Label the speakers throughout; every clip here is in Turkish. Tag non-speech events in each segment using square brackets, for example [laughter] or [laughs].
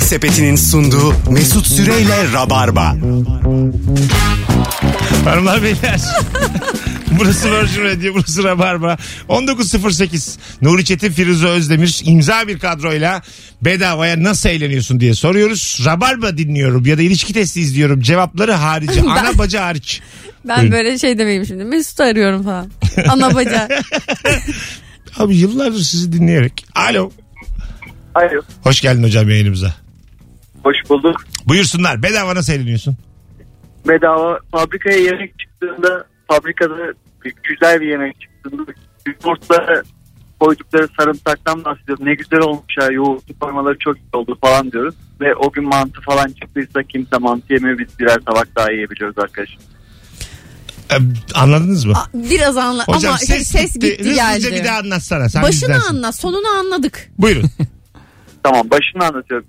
Speaker 1: Sepeti'nin sunduğu Mesut Süreyle Rabarba.
Speaker 2: Hanımlar beyler.
Speaker 3: [laughs]
Speaker 2: burası Virgin Radio, burası Rabarba. 19.08 Nuri Çetin, Firuze Özdemir imza bir kadroyla bedavaya nasıl eğleniyorsun diye soruyoruz. Rabarba dinliyorum ya da ilişki testi izliyorum. Cevapları harici, ana bacı hariç.
Speaker 3: Ben böyle şey demeyeyim şimdi. Mesut'u arıyorum falan. Ana baca.
Speaker 2: Abi yıllardır sizi dinleyerek. Alo.
Speaker 4: Alo.
Speaker 2: Hoş geldin hocam yayınımıza.
Speaker 4: Hoş bulduk.
Speaker 2: Buyursunlar. Bedava nasıl eğleniyorsun?
Speaker 4: Bedava fabrikaya yemek çıktığında fabrikada bir- güzel bir yemek çıktığında yoğurtlara koydukları sarımsaktan bahsediyoruz. Ne güzel olmuş ya yoğurtlu parmaları çok iyi oldu falan diyoruz. Ve o gün mantı falan çıktıysa kimse mantı yemiyor. Biz birer tabak daha yiyebiliyoruz arkadaşlar.
Speaker 2: Ee, anladınız mı?
Speaker 3: Biraz anla
Speaker 2: Hocam
Speaker 3: ama şey, [laughs] ses, gitti,
Speaker 2: Hızlıca
Speaker 3: geldi.
Speaker 2: bir daha anlatsana. Sen
Speaker 3: Başını
Speaker 2: bizdensin.
Speaker 3: anla, sonunu anladık.
Speaker 2: Buyurun.
Speaker 4: Tamam başını anlatıyorum.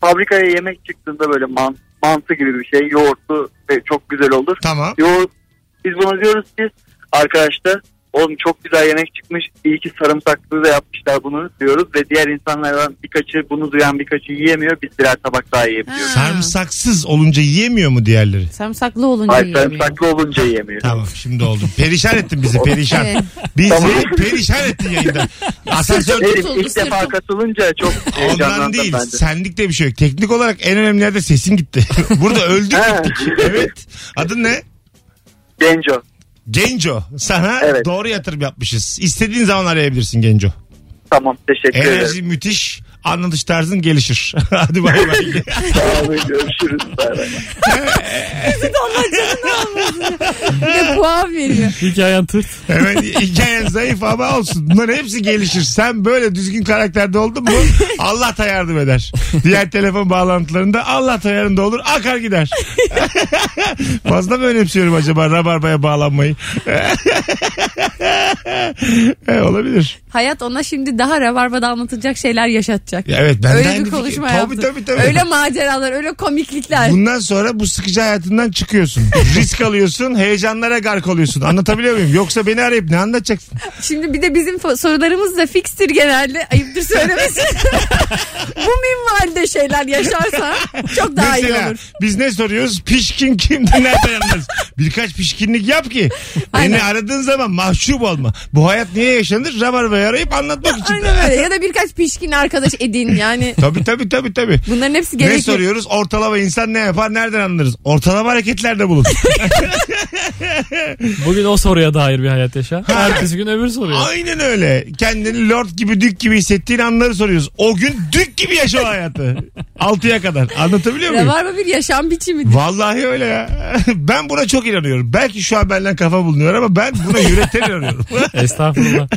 Speaker 4: Fabrikaya yemek çıktığında böyle man- mantı gibi bir şey yoğurtlu ve çok güzel olur.
Speaker 2: tamam.
Speaker 4: Yoğurt. Biz buna diyoruz ki arkadaşlar oğlum çok güzel yemek çıkmış. İyi ki sarımsaklı da yapmışlar bunu diyoruz. Ve diğer insanlardan birkaçı bunu duyan birkaçı yiyemiyor. Biz birer tabak daha yiyebiliyoruz.
Speaker 2: Sarımsaksız olunca yiyemiyor mu diğerleri?
Speaker 3: Sarımsaklı olunca
Speaker 4: Hayır
Speaker 3: yiyemiyor.
Speaker 4: sarımsaklı olunca yiyemiyor.
Speaker 2: Tamam şimdi oldu. Perişan ettin
Speaker 4: [laughs]
Speaker 2: bizi perişan.
Speaker 3: Evet.
Speaker 2: Bizi
Speaker 4: Tamam.
Speaker 2: perişan ettin
Speaker 4: [laughs]
Speaker 2: yayında. Asansör
Speaker 4: Herif
Speaker 3: Tutuldu,
Speaker 4: ilk defa
Speaker 3: sırtım.
Speaker 4: katılınca çok
Speaker 2: ondan
Speaker 4: heyecanlandım
Speaker 2: değil.
Speaker 4: bence.
Speaker 2: Senlik de bir şey yok. Teknik olarak en önemli yerde sesin gitti. [laughs] Burada öldük
Speaker 4: Ha.
Speaker 2: gittik. Evet. Adın ne?
Speaker 4: Genco.
Speaker 2: Genco. Sana
Speaker 4: Evet.
Speaker 2: doğru yatırım yapmışız. İstediğin zaman arayabilirsin Genco.
Speaker 4: Tamam teşekkür
Speaker 2: Enerji
Speaker 4: ederim.
Speaker 2: müthiş. Anlatış tarzın gelişir. [laughs] Hadi bay
Speaker 4: [laughs]
Speaker 2: bay.
Speaker 4: Sağ olun, görüşürüz. Bay bay.
Speaker 2: [laughs]
Speaker 3: Ne puan veriyor.
Speaker 5: Hikayen tırt.
Speaker 2: Hemen hikayen zayıf ama olsun. Bunların hepsi gelişir. Sen böyle düzgün karakterde oldun mu Allah da yardım eder. Diğer telefon bağlantılarında Allah da yanında olur akar gider. [laughs] Fazla mı önemsiyorum acaba rabarbaya bağlanmayı? [laughs] e, olabilir.
Speaker 3: Hayat ona şimdi daha rabarbada anlatılacak şeyler yaşatacak.
Speaker 2: Ya Evet ben de
Speaker 3: öyle
Speaker 2: aynı
Speaker 3: bir konuşma
Speaker 2: fikir-
Speaker 3: yaptın.
Speaker 2: Tabii tabii tabii.
Speaker 3: Öyle maceralar, öyle komiklikler.
Speaker 2: Bundan sonra bu sıkıcı hayatından çıkıyorsun. Risk alıyorsun, heyecanlara gark oluyorsun. Anlatabiliyor muyum? Yoksa beni arayıp ne anlatacaksın?
Speaker 3: Şimdi bir de bizim fo- sorularımız da fikstir genelde. Ayıptır söylemesi.
Speaker 2: [laughs]
Speaker 3: Bu minvalde şeyler yaşarsa çok daha iyi olur.
Speaker 2: biz ne soruyoruz? Pişkin kimdi nerede yalnız? Birkaç pişkinlik yap ki.
Speaker 3: Aynen.
Speaker 2: Beni aradığın zaman mahcup olma. Bu hayat niye yaşanır? Rabarba'yı arayıp anlatmak için.
Speaker 3: Aynen öyle. Ya da birkaç pişkin arkadaş edin yani.
Speaker 2: [laughs] Tabii tabii tabii tabii.
Speaker 3: Bunların hepsi
Speaker 2: Ne
Speaker 3: gerekli.
Speaker 2: soruyoruz? Ortalama insan ne yapar? Nereden anlarız? Ortalama hareketlerde
Speaker 3: [laughs]
Speaker 2: bulun.
Speaker 5: Bugün o soruya dair bir hayat yaşa. Ertesi gün öbür soruya.
Speaker 2: Aynen öyle. Kendini lord gibi dük gibi hissettiğin anları soruyoruz. O gün dük gibi yaşa o
Speaker 3: [laughs]
Speaker 2: hayatı. Altıya kadar. Anlatabiliyor muyum?
Speaker 3: Rabarba bir yaşam biçimidir.
Speaker 2: Vallahi öyle ya. [laughs] Ben buna çok inanıyorum. Belki şu an benden kafa bulunuyor ama ben buna yürekten
Speaker 3: [laughs]
Speaker 2: inanıyorum.
Speaker 5: Estağfurullah.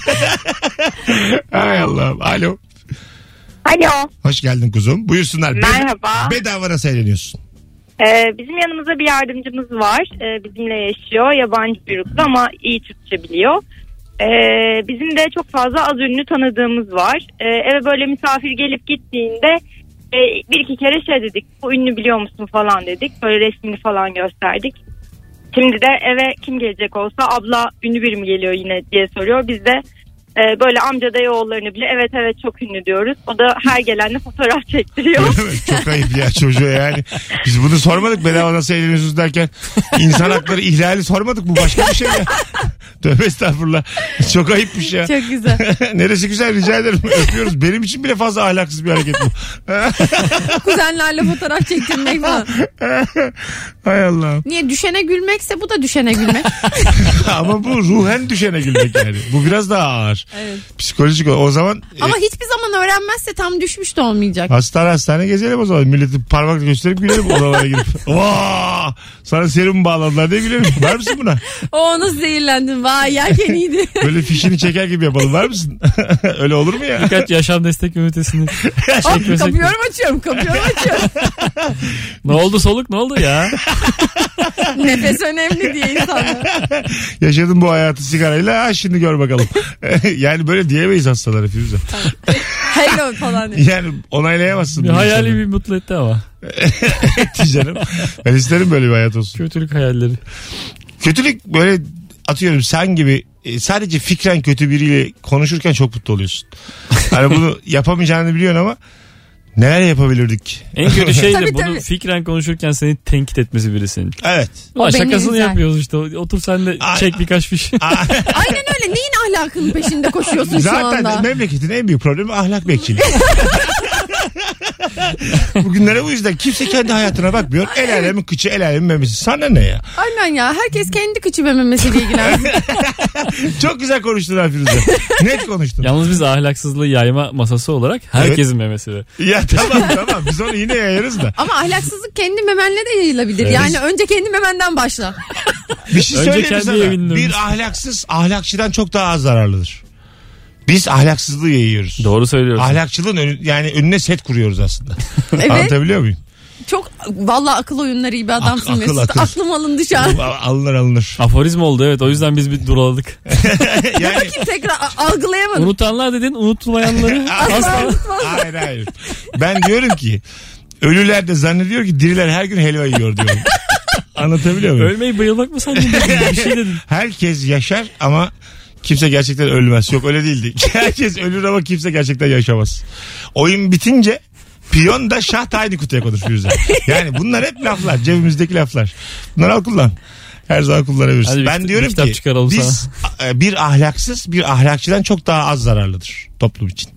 Speaker 2: Hay Allah'ım. Alo.
Speaker 6: Alo.
Speaker 2: Hoş geldin kuzum. Buyursunlar. Bed-
Speaker 6: Merhaba.
Speaker 2: Bedava nasıl eğleniyorsun?
Speaker 6: Ee, bizim yanımızda bir yardımcımız var. Ee, bizimle yaşıyor. Yabancı bir ırklı ama iyi Türkçe biliyor. Ee, bizim de çok fazla az ünlü tanıdığımız var. Ee, eve böyle misafir gelip gittiğinde e, bir iki kere şey dedik. Bu ünlü biliyor musun falan dedik. Böyle resmini falan gösterdik. Şimdi de eve kim gelecek olsa abla ünlü biri mi geliyor yine diye soruyor. Biz de e, böyle amca dayı oğullarını bile evet evet çok ünlü diyoruz. O da her gelenle fotoğraf [laughs] çektiriyor.
Speaker 2: Öyle mi? çok ayıp ya çocuğa yani. Biz bunu sormadık bedava nasıl eğleniyorsunuz derken. insan hakları ihlali sormadık. Bu başka bir şey ya. Tövbe estağfurullah. Çok ayıpmış ya.
Speaker 3: Çok güzel.
Speaker 2: [laughs] Neresi güzel rica ederim. Öpüyoruz. Benim için bile fazla ahlaksız bir hareket bu.
Speaker 3: Kuzenlerle fotoğraf çektirmek falan.
Speaker 2: Hay Allah'ım.
Speaker 3: [laughs] Niye düşene gülmekse bu da düşene gülmek.
Speaker 2: Ama bu ruhen düşene gülmek yani. Bu biraz daha ağır.
Speaker 3: [laughs] Evet.
Speaker 2: Psikolojik olarak. o zaman
Speaker 3: Ama
Speaker 2: e,
Speaker 3: hiçbir zaman öğrenmezse tam düşmüş de olmayacak.
Speaker 2: hastane hastane gezelim o zaman. Milleti parmak gösterip gülelim odalara
Speaker 5: [laughs]
Speaker 2: girip. Vaa! Sana serum bağladılar diye gülelim. Var mısın buna?
Speaker 3: O nasıl zehirlendin? Vay yerken [laughs] iyiydi.
Speaker 2: Böyle fişini çeker gibi yapalım. Var mısın? [laughs] Öyle olur mu ya?
Speaker 5: Birkaç yaşam destek ünitesini
Speaker 3: Hop,
Speaker 5: çekmesek. mi?
Speaker 3: kapıyorum açıyorum, kapıyorum [laughs] açıyorum.
Speaker 5: Ne oldu soluk ne oldu ya?
Speaker 3: Nefes önemli diye insanlar.
Speaker 2: Yaşadım bu hayatı sigarayla. Ha, şimdi gör bakalım. [laughs] yani böyle diyemeyiz hastalara Firuze.
Speaker 3: Hello falan. diye.
Speaker 2: Yani onaylayamazsın.
Speaker 5: Bir
Speaker 2: bu
Speaker 5: hayali
Speaker 2: insanı.
Speaker 5: bir mutlu etti ama.
Speaker 2: Etti [laughs] canım. Ben isterim böyle bir hayat olsun.
Speaker 5: Kötülük hayalleri.
Speaker 2: Kötülük böyle atıyorum sen gibi e, sadece fikren kötü biriyle konuşurken çok mutlu oluyorsun. Hani bunu yapamayacağını biliyorsun ama Neler yapabilirdik?
Speaker 5: En kötü şey
Speaker 3: Tabii,
Speaker 5: de bunu
Speaker 3: tabii.
Speaker 5: fikren konuşurken seni tenkit etmesi birisinin.
Speaker 2: Evet.
Speaker 5: Ulan
Speaker 3: beni
Speaker 5: şakasını
Speaker 3: üzer.
Speaker 5: yapıyoruz işte. Otur sen de
Speaker 2: [laughs] Ay-
Speaker 5: çek birkaç fiş.
Speaker 3: Aynen öyle. Neyin ahlakının peşinde koşuyorsun şu
Speaker 2: Zaten
Speaker 3: anda?
Speaker 2: memleketin en büyük problemi ahlak bekçiliği. [laughs] Bugünlere bu yüzden kimse kendi hayatına bakmıyor. El alemin kıçı el alemin memesi. Sana ne ya?
Speaker 3: Aynen ya. Herkes kendi kıçı ve memesiyle [laughs] ilgilensin.
Speaker 2: Çok güzel konuştun ha Firuze. Net konuştun. Ya,
Speaker 5: Yalnız biz ahlaksızlığı yayma masası olarak herkesin memesi de.
Speaker 2: tamam tamam biz onu yine yayarız da.
Speaker 3: Ama ahlaksızlık kendi memenle de yayılabilir.
Speaker 5: Evet.
Speaker 3: Yani önce kendi memenden başla.
Speaker 2: Bir şey
Speaker 5: Önce
Speaker 2: söyleyeyim mi
Speaker 5: kendi evinin
Speaker 2: sana. Bir
Speaker 5: önünde.
Speaker 2: ahlaksız ahlakçıdan çok daha az zararlıdır. Biz ahlaksızlığı yayıyoruz.
Speaker 5: Doğru söylüyorsun.
Speaker 2: Ahlakçılığın önü- yani önüne set kuruyoruz aslında.
Speaker 3: Evet.
Speaker 2: Anlatabiliyor
Speaker 3: [laughs]
Speaker 2: muyum?
Speaker 3: Çok valla akıl oyunları iyi bir adamsın
Speaker 2: akıl,
Speaker 3: Mesut.
Speaker 2: akıl.
Speaker 3: Aklım alındı şu an.
Speaker 2: Bu a- Alınır
Speaker 5: [laughs]
Speaker 2: alınır.
Speaker 5: Aforizm oldu evet o yüzden biz bir duraladık.
Speaker 2: Yani
Speaker 3: Kim tekrar a- algılayamadım.
Speaker 5: Unutanlar
Speaker 2: [laughs]
Speaker 5: dedin unutulmayanları asla.
Speaker 2: hayır hayır. Ben diyorum ki ölüler de zannediyor ki diriler her gün helva yiyor diyorum. Anlatabiliyor muyum?
Speaker 5: Ölmeyi bayılmak mı sandın? Bir şey dedin.
Speaker 2: [laughs] Herkes yaşar ama kimse gerçekten ölmez. Yok öyle değildi. [laughs] Herkes ölür ama kimse gerçekten yaşamaz. Oyun bitince piyon da şah da aynı kutuya konur Firuze. Yani bunlar hep laflar. Cebimizdeki laflar. Bunları al kullan. Her zaman kullanabilirsin.
Speaker 5: Hadi bir
Speaker 2: ben
Speaker 5: kit-
Speaker 2: diyorum
Speaker 5: bir kitap
Speaker 2: ki
Speaker 5: çıkaralım
Speaker 2: biz e, bir ahlaksız bir ahlakçıdan çok daha az zararlıdır toplum için.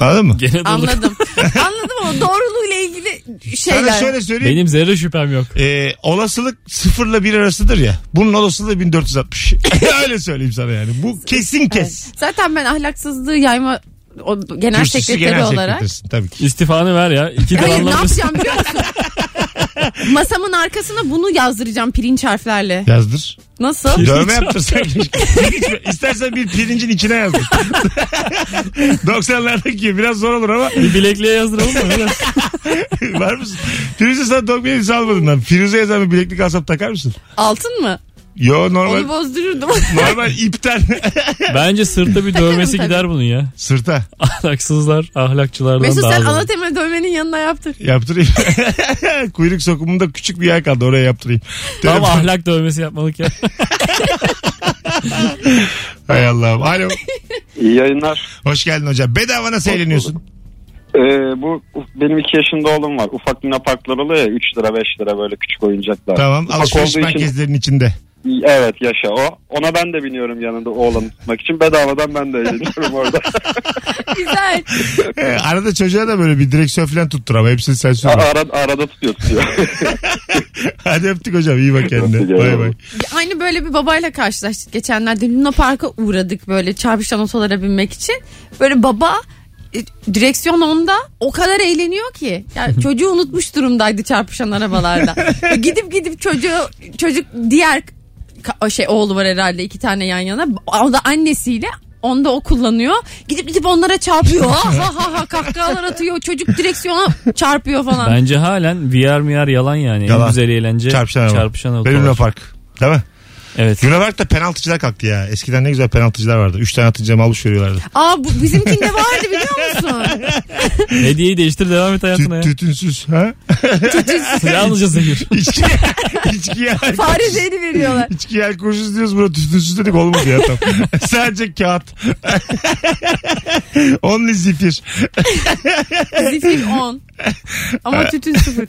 Speaker 2: Anladın mı?
Speaker 5: Gene durduk.
Speaker 3: Anladım. Anladım ama doğruluğuyla ilgili şeyler.
Speaker 2: Sana şöyle söyleyeyim.
Speaker 5: Benim zerre şüphem yok.
Speaker 2: e, olasılık sıfırla bir arasıdır ya. Bunun olasılığı
Speaker 3: [laughs]
Speaker 2: 1460. [laughs] Öyle söyleyeyim sana yani. Bu kesin kes.
Speaker 3: Zaten ben ahlaksızlığı yayma o, genel
Speaker 2: Kürsüsü
Speaker 3: sekreteri olarak.
Speaker 2: sekretersin tabii ki.
Speaker 5: İstifanı ver ya. İki
Speaker 3: Hayır ne
Speaker 5: dolarla bir-
Speaker 3: yapacağım biliyor musun? Masamın arkasına bunu yazdıracağım pirinç harflerle.
Speaker 2: Yazdır.
Speaker 3: Nasıl?
Speaker 2: Dövme yaptırsak. [laughs] Pirinç- İstersen bir pirincin içine
Speaker 3: [laughs]
Speaker 2: yazdır. 90'lardaki gibi biraz zor olur ama [laughs]
Speaker 5: bir bilekliğe
Speaker 3: [laughs]
Speaker 5: yazdıralım mı? Öyle.
Speaker 2: var mısın? Firuze sana dokmaya elbise almadın lan. Firuze yazan bir bileklik alsam takar mısın?
Speaker 3: Altın mı?
Speaker 2: Yo normal.
Speaker 3: Onu bozdururdum.
Speaker 2: Normal ipten
Speaker 5: Bence sırtta bir
Speaker 3: Takarım
Speaker 5: dövmesi
Speaker 3: tabii.
Speaker 5: gider bunun ya.
Speaker 2: [laughs]
Speaker 5: [laughs]
Speaker 2: sırta
Speaker 5: Ahlaksızlar ahlakçılardan
Speaker 3: Mesut
Speaker 5: daha
Speaker 3: sen
Speaker 5: zor.
Speaker 3: Alatemir dövmenin yanına yaptır.
Speaker 2: yaptırayım. [laughs] Kuyruk sokumunda küçük bir yer kaldı oraya yaptırayım.
Speaker 5: Tam
Speaker 2: Telefon-
Speaker 5: ahlak dövmesi
Speaker 3: [laughs]
Speaker 5: yapmalık ya.
Speaker 2: Hay Allah'ım. Alo.
Speaker 7: İyi yayınlar.
Speaker 2: Hoş geldin hocam. Bedava nasıl eğleniyorsun?
Speaker 7: Ee, bu benim iki yaşında oğlum var. Ufak lina parklar oluyor ya 3 lira 5 lira böyle küçük oyuncaklar.
Speaker 2: Tamam.
Speaker 7: Ufak
Speaker 2: Alışveriş
Speaker 7: olduğu için-
Speaker 2: merkezlerinin
Speaker 7: [laughs]
Speaker 2: içinde.
Speaker 7: Evet yaşa o. Ona ben de biniyorum yanında oğlanı tutmak için. Bedavadan ben de eğleniyorum orada.
Speaker 3: Güzel.
Speaker 2: Ee, arada çocuğa da böyle bir direksiyon falan tuttur ama hepsini sen sür.
Speaker 7: Ara, arada tutuyor tutuyor.
Speaker 2: Hadi öptük hocam. iyi bak kendine.
Speaker 7: Öptük,
Speaker 2: Bay
Speaker 7: eyvallah.
Speaker 2: bay.
Speaker 3: Aynı böyle bir babayla karşılaştık geçenlerde. Luna Park'a uğradık böyle çarpışan otolara binmek için. Böyle baba e, direksiyon onda o kadar eğleniyor ki. Yani çocuğu unutmuş durumdaydı çarpışan arabalarda. Ve gidip gidip çocuğu çocuk diğer ka- şey oğlu var herhalde iki tane yan yana. O da annesiyle onda o kullanıyor. Gidip gidip onlara çarpıyor. Ha ha ha, ha kahkahalar atıyor. Çocuk direksiyona çarpıyor falan.
Speaker 5: Bence halen VR MR yalan yani.
Speaker 2: Yalan.
Speaker 5: En güzel eğlence
Speaker 2: Çarpışan araba.
Speaker 5: Şey, çarpışan araba.
Speaker 2: Benim Park. Değil mi?
Speaker 5: Evet.
Speaker 2: Luna Park'ta penaltıcılar kalktı ya. Eskiden ne güzel penaltıcılar vardı. Üç tane atınca malış veriyorlardı.
Speaker 3: Aa bu bizimkinde vardı biliyor musun?
Speaker 5: Hediyeyi değiştir devam et hayatına
Speaker 2: Tü-
Speaker 5: ya.
Speaker 2: tütünsüz. Ha?
Speaker 5: [laughs] Yalnızca zehir.
Speaker 2: İçki, içkiye alkol,
Speaker 3: Fare zehri veriyorlar.
Speaker 2: içkiye alkolsüz diyoruz. Buna tütünsüz dedik olmadı ya tam. Sadece kağıt. [laughs] Only zifir.
Speaker 3: Zifir 10. Ama tütün sıfır.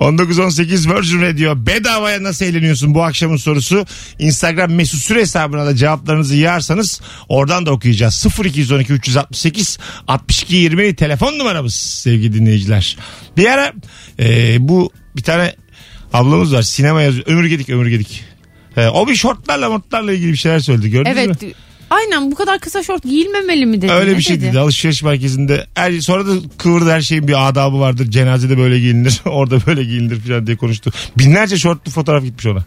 Speaker 2: 1918 Virgin Radio bedavaya nasıl eğleniyorsun bu akşamın sorusu. Instagram mesut süre hesabına da cevaplarınızı yığarsanız oradan da okuyacağız. 0212 368 62 20 telefon numaramız sevgili dinleyiciler. Bir ara e, bu bir tane ablamız var sinema yazıyor. Ömür Gedik Ömür Gedik. E, o bir şortlarla mortlarla ilgili bir şeyler söyledi gördünüz mü?
Speaker 3: Evet. Aynen bu kadar kısa şort giyilmemeli mi dedi.
Speaker 2: Öyle
Speaker 3: Ne
Speaker 2: bir şey
Speaker 3: dedi?
Speaker 2: dedi. Alışveriş merkezinde. Her, sonra da kıvırdı her şeyin bir adabı vardır. Cenazede böyle giyinilir. [laughs] Orada böyle giyinilir falan diye konuştu. Binlerce şortlu fotoğraf gitmiş ona.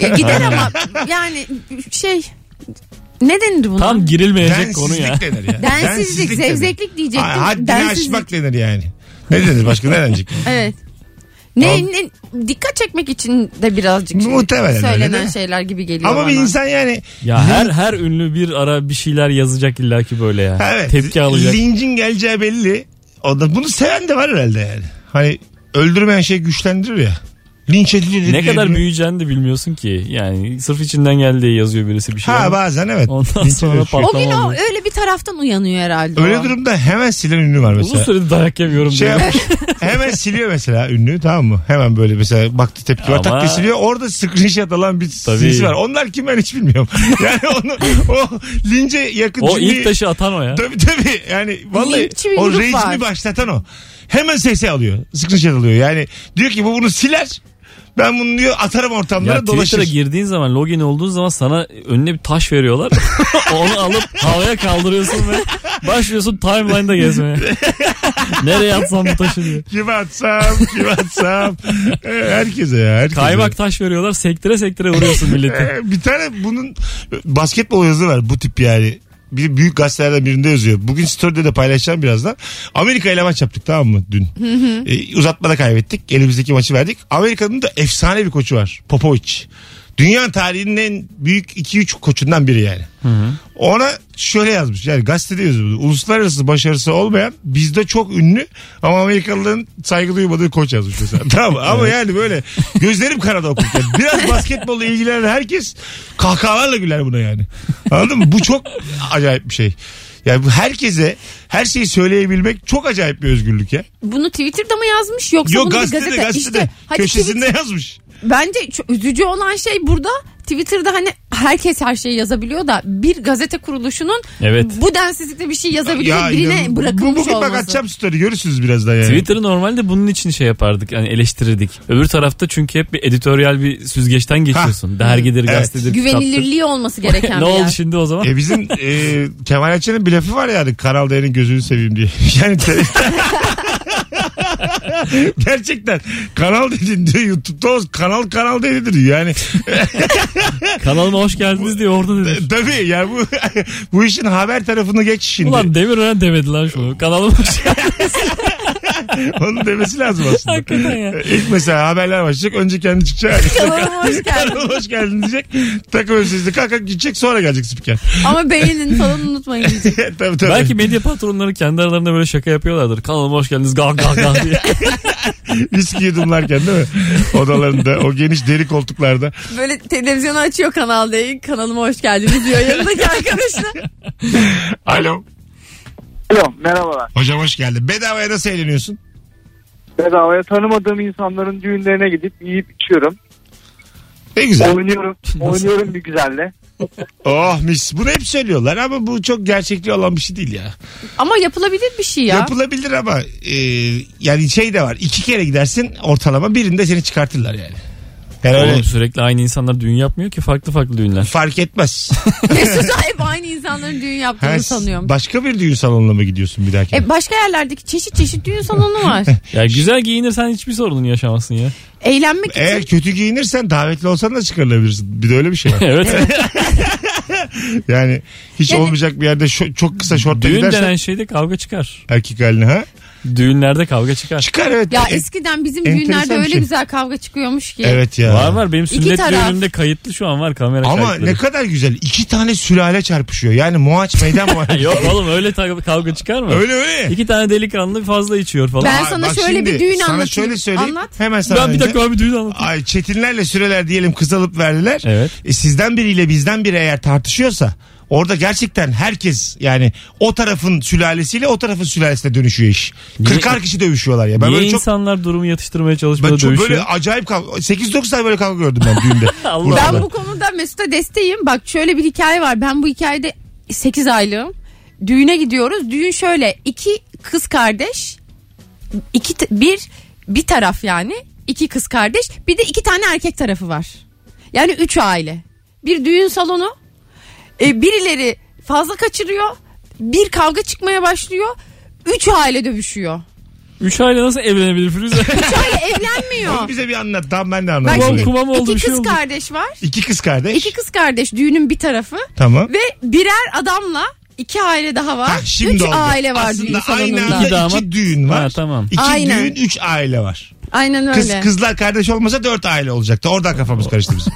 Speaker 3: E, gider ama yani şey ne denir buna?
Speaker 5: Tam girilmeyecek konu ya.
Speaker 2: Densizlik denir ya.
Speaker 3: [laughs] Densizlik,
Speaker 2: denir.
Speaker 3: zevzeklik diyecektim.
Speaker 2: Ha- Haddini
Speaker 3: Densizlik.
Speaker 2: aşmak denir yani. Ne denir başka ne
Speaker 3: [laughs]
Speaker 2: denecek?
Speaker 3: Evet. Ne,
Speaker 2: Al-
Speaker 3: ne, dikkat çekmek için de birazcık şey
Speaker 2: Muhtemelen öyle,
Speaker 3: söylenen
Speaker 2: değil mi?
Speaker 3: şeyler gibi geliyor
Speaker 2: Ama
Speaker 3: bana.
Speaker 2: bir insan
Speaker 5: [laughs]
Speaker 2: yani
Speaker 5: Ya her her ünlü bir ara bir şeyler yazacak illaki böyle ya.
Speaker 2: evet,
Speaker 5: Tepki alacak.
Speaker 2: Lincin geleceği belli. O da, bunu seven de var herhalde yani. Hani öldürmeyen şey güçlendirir ya. Linç edildi.
Speaker 5: Ne kadar büyüyeceğini de bilmiyorsun ki. Yani sırf içinden geldi diye yazıyor birisi bir şey.
Speaker 2: Ha
Speaker 5: ama
Speaker 2: bazen evet.
Speaker 5: Ondan
Speaker 2: Linç
Speaker 5: sonra
Speaker 2: ediyorsun.
Speaker 5: patlama
Speaker 3: O gün o
Speaker 5: oluyor.
Speaker 3: öyle bir taraftan uyanıyor herhalde.
Speaker 2: Öyle
Speaker 3: o.
Speaker 2: durumda hemen silen ünlü var
Speaker 5: Uzun
Speaker 2: mesela.
Speaker 5: süredir dayak yemiyorum
Speaker 2: Şey
Speaker 3: [laughs]
Speaker 5: diye.
Speaker 2: yapmış, hemen siliyor mesela ünlü tamam mı? Hemen böyle mesela baktı tepki var
Speaker 5: Ama-
Speaker 2: tak diye siliyor. Orada screenshot alan bir
Speaker 5: Tabii.
Speaker 2: sinsi var. Onlar kim ben hiç
Speaker 3: [laughs]
Speaker 2: bilmiyorum. Yani onu o lince yakın
Speaker 5: O
Speaker 2: cümleyi-
Speaker 5: ilk taşı atan o ya.
Speaker 2: Tabii tabii yani vallahi
Speaker 3: Linççi bir
Speaker 2: o
Speaker 3: grup
Speaker 2: rejimi
Speaker 3: var.
Speaker 2: başlatan o. Hemen sesi alıyor. Screenshot alıyor. Yani diyor ki bu bunu siler. Ben bunu diyor atarım ortamlara
Speaker 5: Ya
Speaker 2: dolaşır.
Speaker 5: Twitter'a girdiğin zaman login olduğun zaman sana önüne bir
Speaker 2: [laughs]
Speaker 5: taş veriyorlar. Onu alıp havaya kaldırıyorsun ve başlıyorsun
Speaker 2: [laughs]
Speaker 5: timeline'da gezmeye. Nereye atsam bu taşı diye.
Speaker 2: Kim atsam, kim
Speaker 5: [laughs]
Speaker 2: atsam. Ee, herkese ya. Herkese.
Speaker 5: Kaymak taş veriyorlar sektire sektire
Speaker 2: [laughs]
Speaker 5: vuruyorsun milleti.
Speaker 2: Ee, bir tane bunun basketbol yazı var bu tip yani. Bir büyük gazetelerden birinde yazıyor. Bugün story'de de paylaşacağım birazdan. Amerika ile maç yaptık tamam mı dün? Ee, uzatmada kaybettik. Elimizdeki maçı verdik. Amerika'nın da efsane bir koçu var. Popovic. Dünya tarihinin en büyük 2-3 koçundan biri yani. Ona şöyle yazmış yani gazetede yazıyor. bunu. Uluslararası başarısı olmayan bizde çok ünlü ama Amerikalıların saygı duymadığı koç yazmış mesela. [laughs] tamam ama yani böyle gözlerim karada okurken.
Speaker 3: [laughs]
Speaker 2: Biraz basketbolla ilgilenen herkes kahkahalarla güler buna yani. Anladın mı? Bu çok acayip bir şey. Yani bu herkese her şeyi söyleyebilmek çok acayip bir özgürlük ya.
Speaker 3: Bunu Twitter'da mı yazmış yoksa
Speaker 2: Yok
Speaker 3: bunu bir
Speaker 2: gazetede
Speaker 3: gazete?
Speaker 2: gazetede
Speaker 3: İşte, hadi
Speaker 2: köşesinde
Speaker 3: Twitter-
Speaker 2: yazmış.
Speaker 3: Bence çok üzücü olan şey burada Twitter'da hani herkes her şeyi yazabiliyor da bir gazete kuruluşunun
Speaker 5: Evet.
Speaker 3: bu densizlikle bir şey yazabiliyor
Speaker 2: inan-
Speaker 3: birine
Speaker 2: bu-
Speaker 3: bırakılmış
Speaker 2: Bugün
Speaker 3: olması.
Speaker 2: bak atacağım story görürsünüz birazdan yani.
Speaker 5: Twitter'ı normalde bunun için şey yapardık yani eleştirirdik. Öbür tarafta çünkü hep bir editoryal bir süzgeçten geçiyorsun. Dergidir,
Speaker 2: Evet.
Speaker 5: gazetedir, kitaptır.
Speaker 3: Güvenilirliği olması gereken
Speaker 5: [laughs] ne
Speaker 3: bir
Speaker 5: oldu
Speaker 3: yer. [laughs]
Speaker 5: şimdi
Speaker 2: [laughs]
Speaker 5: o zaman?
Speaker 2: E bizim e, Kemal Ayça'nın bir lafı var yani Kanal D'nin gözünü seveyim diye. [laughs] Yani te- Gerçekten kanal dedin diyor YouTube'da o kanal kanal dedi diyor yani. [laughs]
Speaker 5: Kanalıma hoş geldiniz diye orada dedim.
Speaker 2: Tabii yani bu [laughs] bu işin haber tarafını geç şimdi.
Speaker 5: Ulan Demirören demedi lan [laughs] şunu. Kanalıma hoş geldiniz.
Speaker 2: [laughs] Onun demesi lazım aslında.
Speaker 5: Hakikaten ya.
Speaker 2: İlk mesela haberler başlayacak önce kendi çıkacak.
Speaker 3: Kanalıma hoş geldin.
Speaker 2: Kanala [laughs] hoş geldin diyecek. Takım elbisesini kalkak gidecek sonra gelecek spiker. [laughs]
Speaker 3: Ama beğenin falan unutmayın diyecek.
Speaker 2: tabii tabii. [laughs]
Speaker 5: Belki medya patronları kendi aralarında böyle şaka yapıyorlardır. Kanalıma hoş geldiniz gah gah
Speaker 2: [laughs]
Speaker 5: gah diye.
Speaker 2: Viski yudumlarken değil mi? Odalarında o geniş deri koltuklarda.
Speaker 3: Böyle televizyonu açıyor Kanal D'yi kanalıma hoş geldiniz diyor yanındaki arkadaşına.
Speaker 2: Alo.
Speaker 4: Alo merhabalar.
Speaker 2: Hocam hoş geldin. Bedavaya nasıl eğleniyorsun?
Speaker 4: Bedavaya tanımadığım insanların düğünlerine gidip yiyip içiyorum.
Speaker 2: Ne güzel.
Speaker 4: Oynuyorum. oynuyorum bir güzelle.
Speaker 2: Oh mis. Bunu hep söylüyorlar ama bu çok gerçekliği olan bir şey değil ya.
Speaker 3: Ama yapılabilir bir şey ya. [laughs]
Speaker 2: Yapılabilir ama e, yani şey de var. İki kere gidersin ortalama birinde seni çıkartırlar yani. Yani öyle
Speaker 5: Oğlum sürekli aynı insanlar düğün yapmıyor ki farklı farklı düğünler.
Speaker 2: fark
Speaker 3: [laughs]
Speaker 2: etmez.
Speaker 3: Mesut hep aynı insanların düğün yaptığını
Speaker 5: şey-
Speaker 2: Her-
Speaker 3: sanıyorum.
Speaker 2: başka bir düğün salonuna mı gidiyorsun bir dahaki?
Speaker 3: E başka yerlerdeki çeşit çeşit düğün salonu
Speaker 5: [laughs]
Speaker 3: var.
Speaker 5: Ya güzel giyinirsen hiçbir sorunun yaşamazsın ya. [laughs]
Speaker 3: Eğlenmek için.
Speaker 2: Eğer kötü giyinirsen davetli olsan da çıkarılabilirsin. Bir de öyle bir
Speaker 3: [laughs]
Speaker 2: şey var.
Speaker 5: evet.
Speaker 2: Yani hiç
Speaker 3: Yani-
Speaker 2: olmayacak bir yerde şo- çok kısa şortla
Speaker 5: [laughs] Düğün
Speaker 2: gidersen
Speaker 5: denen şeyde kavga çıkar.
Speaker 2: erkek haline ha.
Speaker 5: Düğünlerde kavga çıkar.
Speaker 2: Çıkar evet.
Speaker 3: Ya
Speaker 2: E-
Speaker 3: eskiden bizim
Speaker 2: enteresan
Speaker 3: düğünlerde
Speaker 2: bir
Speaker 3: öyle
Speaker 2: şey.
Speaker 3: güzel kavga çıkıyormuş ki.
Speaker 2: evet ya.
Speaker 5: Var var benim sünnet
Speaker 3: taraf.
Speaker 5: düğünümde kayıtlı şu an var kamera
Speaker 2: Ama
Speaker 5: kayıtları.
Speaker 2: ne kadar güzel. İki tane sülale çarpışıyor. Yani Moaç meydan
Speaker 5: [laughs]
Speaker 2: Moaç.
Speaker 5: Yok oğlum öyle ta- kavga çıkar mı?
Speaker 2: öyle öyle.
Speaker 5: İki tane delikanlı fazla içiyor falan.
Speaker 3: Ben
Speaker 2: Ay,
Speaker 3: sana
Speaker 2: bak
Speaker 3: şöyle bir
Speaker 2: şimdi,
Speaker 3: düğün
Speaker 2: sana
Speaker 3: anlatayım.
Speaker 2: şöyle söyleyeyim.
Speaker 3: Anlat.
Speaker 2: Hemen
Speaker 5: Ben,
Speaker 2: sana
Speaker 5: bir
Speaker 2: önce-
Speaker 5: dakika abi düğün anlatayım.
Speaker 2: Ay Çetinlerle Süreler diyelim kız alıp verdiler.
Speaker 5: Evet.
Speaker 2: E, sizden biriyle bizden biri eğer tartışıyorsa orada gerçekten herkes yani o tarafın sülalesiyle o tarafın sülalesine dönüşüyor iş. Kırkar kişi dövüşüyorlar ya. Ben
Speaker 5: Niye
Speaker 2: böyle çok
Speaker 5: insanlar durumu yatıştırmaya
Speaker 2: ben
Speaker 5: çalışmada
Speaker 2: çok
Speaker 5: dövüşüyor?
Speaker 2: böyle acayip kavga 8-9 tane böyle kavga gördüm ben
Speaker 3: [laughs]
Speaker 2: düğünde.
Speaker 5: [laughs] Allah
Speaker 2: Burada.
Speaker 5: Allah.
Speaker 3: Ben bu konuda Mesut'a desteğim. Bak şöyle bir hikaye var. Ben bu hikayede 8 aylığım. Düğüne gidiyoruz. Düğün şöyle. iki kız kardeş. iki t- bir bir taraf yani. iki kız kardeş. Bir de iki tane erkek tarafı var. Yani üç aile. Bir düğün salonu. E, birileri fazla kaçırıyor. Bir kavga çıkmaya başlıyor. Üç aile dövüşüyor.
Speaker 5: Üç aile nasıl evlenebilir Firuze?
Speaker 2: [laughs]
Speaker 3: Üç aile evlenmiyor.
Speaker 2: Bize bir anlat. Tamam ben de
Speaker 3: Bak
Speaker 2: anladım.
Speaker 5: Kumam,
Speaker 3: şimdi
Speaker 5: kumam oldu, bir
Speaker 3: iki
Speaker 5: şey
Speaker 3: kız
Speaker 5: oldu.
Speaker 3: kardeş var.
Speaker 2: İki kız kardeş.
Speaker 3: İki kız kardeş düğünün bir tarafı.
Speaker 2: Tamam.
Speaker 3: Ve birer adamla iki aile daha var.
Speaker 2: Ha, şimdi
Speaker 3: Üç
Speaker 2: oldu.
Speaker 3: aile var
Speaker 2: Aslında
Speaker 3: düğün
Speaker 2: aynı
Speaker 3: salonunda.
Speaker 2: anda iki,
Speaker 5: İki damat-
Speaker 2: düğün var.
Speaker 5: Ha, tamam.
Speaker 2: İki
Speaker 3: Aynen.
Speaker 2: düğün üç aile var.
Speaker 3: Aynen öyle.
Speaker 2: Kız, kızlar kardeş olmasa dört aile olacaktı. Oradan kafamız karıştı
Speaker 5: [laughs]
Speaker 2: bizim.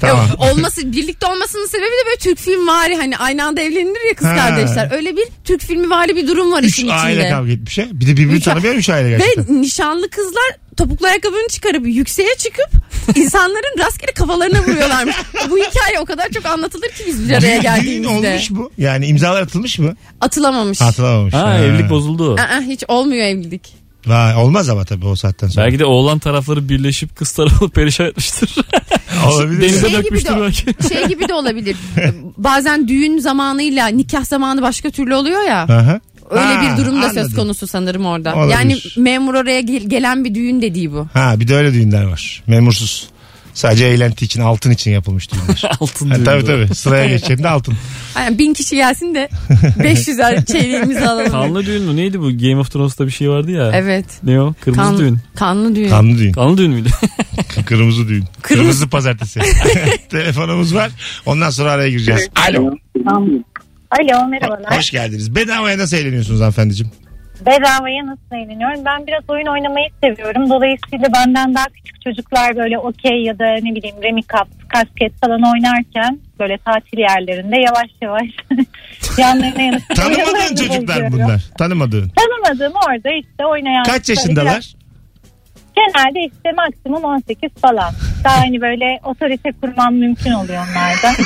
Speaker 2: tamam.
Speaker 3: Olması birlikte olmasının sebebi de böyle Türk film vari hani aynı anda evlenilir ya kız
Speaker 2: Ha.
Speaker 3: kardeşler. Öyle bir Türk filmi vari bir durum var
Speaker 2: Üç
Speaker 3: işin
Speaker 2: aile
Speaker 3: içinde.
Speaker 2: kavga etmiş ha. Bir de birbirini
Speaker 3: Üç-
Speaker 2: tanımayan üç aile
Speaker 3: Ve
Speaker 2: gerçekten.
Speaker 3: nişanlı kızlar topuklu ayakkabını çıkarıp yükseğe
Speaker 2: [laughs]
Speaker 3: çıkıp insanların rastgele kafalarına vuruyorlarmış. Bu hikaye o kadar çok anlatılır ki biz bir araya
Speaker 2: Düğün- Düğün
Speaker 3: geldiğimizde.
Speaker 2: olmuş mu? Yani imzalar atılmış mı?
Speaker 3: Atılamamış.
Speaker 2: Atılamamış.
Speaker 5: Ha, evlilik bozuldu.
Speaker 3: Aa, hiç olmuyor evlilik.
Speaker 2: Vay, olmaz ama tabii o saatten sonra.
Speaker 5: Belki de oğlan tarafları birleşip kız tarafı [laughs] perişan etmiştir.
Speaker 2: Olabilir.
Speaker 5: Denize
Speaker 3: gibi
Speaker 5: dökmüştür
Speaker 3: de o.
Speaker 5: belki.
Speaker 3: Şey gibi de olabilir.
Speaker 2: [laughs]
Speaker 3: Bazen düğün zamanıyla nikah zamanı başka türlü oluyor ya.
Speaker 2: Aha.
Speaker 3: Öyle
Speaker 2: Ha,
Speaker 3: bir durum da söz
Speaker 2: anladım.
Speaker 3: konusu sanırım orada.
Speaker 2: Olabilir.
Speaker 3: Yani memur oraya gel- gelen bir düğün dediği bu.
Speaker 2: Ha bir de öyle düğünler var. Memursuz. Sadece eğlenti için altın için yapılmış
Speaker 5: [laughs]
Speaker 2: düğünler.
Speaker 5: Altın
Speaker 2: ha,
Speaker 5: düğünü.
Speaker 2: tabii tabii sıraya geçeceğinde altın.
Speaker 3: Yani bin kişi
Speaker 2: [laughs]
Speaker 3: gelsin de 500'er çeyreğimizi alalım.
Speaker 5: Kanlı düğün mü neydi bu? Game of Thrones'ta bir şey vardı ya.
Speaker 3: Evet.
Speaker 5: Ne o? Kırmızı
Speaker 3: Kan-
Speaker 5: düğün.
Speaker 3: Kanlı düğün.
Speaker 2: Kanlı düğün.
Speaker 5: Kanlı düğün müydü? [laughs]
Speaker 2: Kırmızı düğün. Kırmızı
Speaker 8: [laughs]
Speaker 2: pazartesi. [laughs] Telefonumuz var. Ondan sonra araya gireceğiz. Alo.
Speaker 8: Alo merhabalar.
Speaker 2: Hoş geldiniz. Bedavaya nasıl eğleniyorsunuz
Speaker 8: [laughs]
Speaker 2: hanımefendiciğim?
Speaker 8: Bedavaya nasıl eğleniyorum? Ben biraz oyun oynamayı seviyorum. Dolayısıyla benden daha küçük çocuklar böyle okey ya da ne bileyim remi kap, kasket falan oynarken böyle tatil yerlerinde yavaş yavaş [laughs] yanlarına yanıp
Speaker 2: [laughs] Tanımadığın çocuklar bunlar. Tanımadığın.
Speaker 8: Tanımadığım orada işte oynayan.
Speaker 2: Kaç
Speaker 8: Böyle
Speaker 2: yaşındalar?
Speaker 8: biraz- Genelde işte maksimum 18 falan. Daha hani böyle otorite kurmam mümkün oluyor
Speaker 2: [laughs]
Speaker 8: onlarda.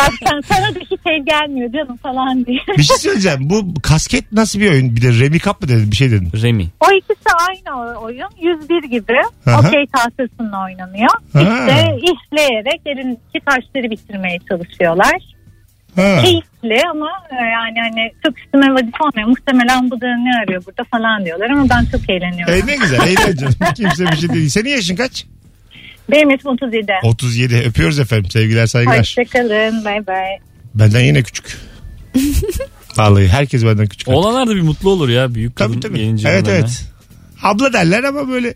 Speaker 8: Bak sen, sana da hiç el gelmiyor canım falan diye.
Speaker 2: Bir şey söyleyeceğim. Bu kasket nasıl bir oyun? Bir de Remi Cup mı dedin? Bir şey dedin.
Speaker 5: Remy.
Speaker 8: O ikisi aynı o- oyun. 101 gibi
Speaker 2: Aha.
Speaker 8: okey tahtasında oynanıyor.
Speaker 2: Ha.
Speaker 8: İşte işleyerek elindeki taşları bitirmeye çalışıyorlar.
Speaker 2: Ha.
Speaker 8: Keyifli ama e, yani hani çok üstüme vazife olmuyor. Muhtemelen bu da ne arıyor burada falan diyorlar ama ben çok eğleniyorum.
Speaker 2: E ne güzel eğlenceli. Kimse bir şey değil. Senin yaşın kaç?
Speaker 8: Benim yaşım 37.
Speaker 2: 37. Öpüyoruz efendim. Sevgiler saygılar.
Speaker 8: Hoşçakalın. Bay bay.
Speaker 2: Benden yine
Speaker 8: [laughs]
Speaker 2: küçük. Vallahi herkes benden küçük.
Speaker 5: Oğlanlar da bir mutlu olur ya. Büyük kadın
Speaker 2: Tabii tabii.
Speaker 5: gelince.
Speaker 2: Evet
Speaker 5: falan ya.
Speaker 2: evet. Abla derler ama böyle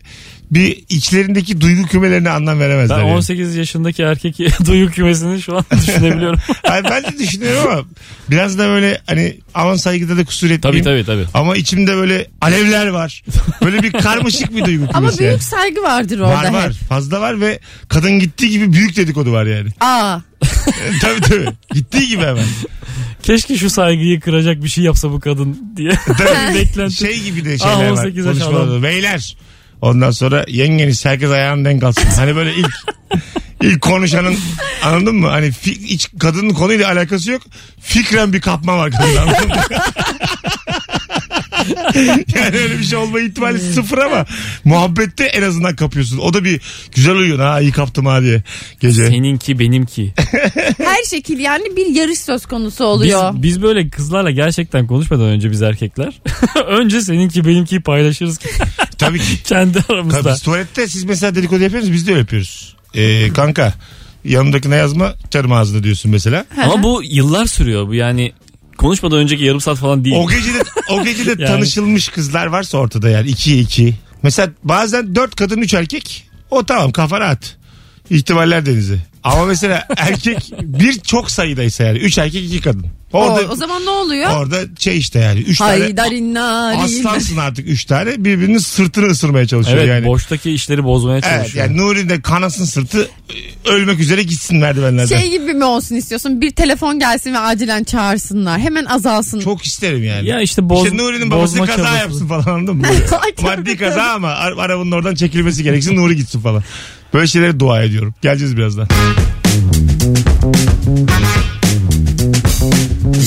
Speaker 2: bir içlerindeki duygu kümelerine anlam veremezler.
Speaker 5: Ben
Speaker 2: yani.
Speaker 5: 18 yaşındaki erkek [laughs] duygu kümesini şu an [laughs]
Speaker 2: [laughs]
Speaker 5: düşünebiliyorum.
Speaker 2: [laughs] Hayır, ben de düşünüyorum ama biraz da böyle hani aman saygıda da kusur
Speaker 5: tabii
Speaker 2: etmeyeyim.
Speaker 5: tabii tabii.
Speaker 2: Ama içimde böyle alevler var. Böyle bir karmaşık bir duygu kümesi.
Speaker 3: Ama
Speaker 2: yani.
Speaker 3: büyük saygı vardır orada.
Speaker 2: Şey. Var var.
Speaker 3: hep.
Speaker 2: Fazla var ve kadın gittiği gibi büyük dedikodu var yani. [laughs]
Speaker 3: Aa.
Speaker 2: tabii tabii. Gittiği gibi hemen.
Speaker 5: Keşke şu saygıyı kıracak bir şey yapsa bu kadın
Speaker 2: [laughs]
Speaker 5: diye.
Speaker 3: [laughs]
Speaker 2: Tabii.
Speaker 5: Beklenti.
Speaker 2: şey gibi de
Speaker 5: Ah,
Speaker 2: şeyler
Speaker 5: 18
Speaker 2: var.
Speaker 5: yaş
Speaker 2: Konuşmalarda.
Speaker 5: adam.
Speaker 2: Beyler. Ondan sonra yengeniz herkes ayağını denk alsın. Hani böyle
Speaker 5: [laughs]
Speaker 2: ilk ilk konuşanın anladın mı? Hani fi- hiç kadının konuyla alakası yok. Fikren bir kapma var kadında. anladın mı? [laughs] yani öyle bir şey olma ihtimali sıfır ama muhabbette en azından kapıyorsun. O da bir güzel uyuyor. Ha iyi kaptım ha diye gece.
Speaker 5: Seninki benimki.
Speaker 3: Her şekil yani bir yarış söz konusu
Speaker 5: Biz,
Speaker 3: oluyor.
Speaker 5: biz böyle kızlarla gerçekten konuşmadan önce biz erkekler. [laughs] önce seninki benimki paylaşırız
Speaker 2: Tabii
Speaker 5: [laughs]
Speaker 2: ki.
Speaker 5: kendi
Speaker 2: Tabii
Speaker 5: aramızda.
Speaker 2: biz tuvalette siz mesela dedikodu yapıyorsunuz biz de öyle yapıyoruz. Ee, kanka yanındakine yazma çarım ağzını diyorsun mesela.
Speaker 5: Ama bu yıllar sürüyor. Bu yani konuşmadan önceki yarım saat falan değil.
Speaker 2: O gece de, o gece de
Speaker 5: [laughs] Yani.
Speaker 2: tanışılmış kızlar varsa ortada yani 2 2. Mesela bazen 4 kadın 3 erkek. O tamam kafa rahat. İhtimaller denizi. Ama
Speaker 5: [laughs]
Speaker 2: mesela erkek bir çok sayıdaysa yani 3 erkek 2 kadın.
Speaker 3: o,
Speaker 2: Orada
Speaker 3: o zaman ne oluyor?
Speaker 2: orada şey işte yani 3 tane
Speaker 3: Haydarin narin.
Speaker 2: aslansın artık 3 tane birbirinin sırtını ısırmaya çalışıyor
Speaker 5: evet
Speaker 2: yani.
Speaker 5: boştaki işleri bozmaya
Speaker 2: Evet
Speaker 5: çalışıyor.
Speaker 2: yani Nuri de kanasın sırtı e, ölmek üzere gitsin merdivenlerden.
Speaker 3: Şey gibi mi olsun istiyorsun? Bir telefon gelsin ve acilen çağırsınlar. Hemen azalsın.
Speaker 2: Çok isterim yani.
Speaker 5: Ya işte boz-
Speaker 2: İşte Nuri'nin babası
Speaker 5: bozma
Speaker 2: kaza
Speaker 5: çabası.
Speaker 2: yapsın falan anladın mı?
Speaker 3: [laughs] Ay, tabii,
Speaker 2: Maddi kaza ama ar- arabanın oradan çekilmesi gereksin Nuri gitsin falan. Böyle şeylere dua ediyorum. Geleceğiz birazdan.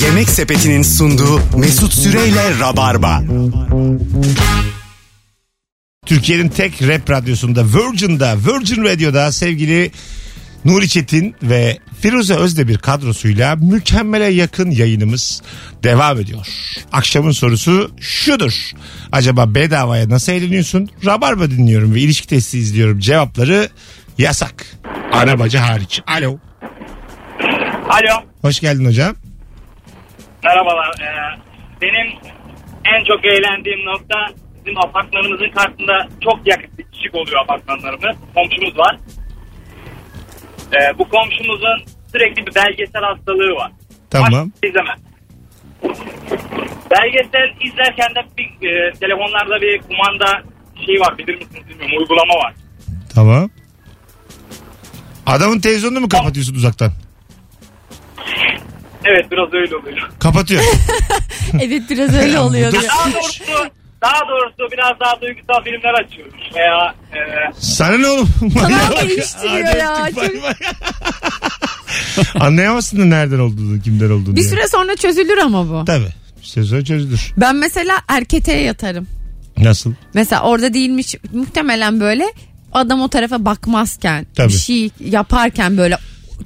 Speaker 1: Yemek Sepeti'nin sunduğu Mesut Süreyle Rabarba.
Speaker 2: Türkiye'nin tek rap radyosunda Virgin'da, Virgin Radio'da sevgili Nuri Çetin ve Firuze Özdemir kadrosuyla mükemmele yakın yayınımız devam ediyor. Akşamın sorusu şudur. Acaba bedavaya nasıl eğleniyorsun? Rabarba dinliyorum ve ilişki testi izliyorum. Cevapları yasak. Arabacı hariç. Alo.
Speaker 9: Alo.
Speaker 2: Hoş geldin hocam.
Speaker 9: Merhabalar. Ee, benim en çok eğlendiğim nokta bizim apartmanımızın karşısında çok yakın bitişik oluyor apartmanlarımız. Komşumuz var. Ee, bu komşumuzun sürekli bir belgesel hastalığı var.
Speaker 2: Tamam.
Speaker 9: Başka izlemez. Belgesel izlerken de bir, e, telefonlarda bir kumanda şey var bilir misiniz bilmiyorum uygulama var.
Speaker 2: Tamam. Adamın televizyonunu mu kapatıyorsun uzaktan?
Speaker 9: Evet biraz öyle oluyor.
Speaker 2: Kapatıyor.
Speaker 3: Evet biraz öyle oluyor.
Speaker 2: Bu da-
Speaker 3: diyor.
Speaker 9: Daha doğrusu daha doğrusu biraz daha duygusal filmler açıyoruz. veya e,
Speaker 2: Sana ne oğlum? Manyağa bak.
Speaker 3: değiştiriyor
Speaker 2: Hadi
Speaker 3: ya.
Speaker 2: öptük, bay bay. [laughs] Anlayamazsın da nereden olduğunu, kimden olduğunu.
Speaker 3: Bir
Speaker 2: yani.
Speaker 3: süre sonra çözülür ama bu.
Speaker 2: Tabii. Bir süre sonra çözülür.
Speaker 3: Ben mesela erketeye yatarım.
Speaker 2: Nasıl?
Speaker 3: Mesela orada değilmiş muhtemelen böyle adam o tarafa bakmazken
Speaker 2: Tabii.
Speaker 3: bir şey yaparken böyle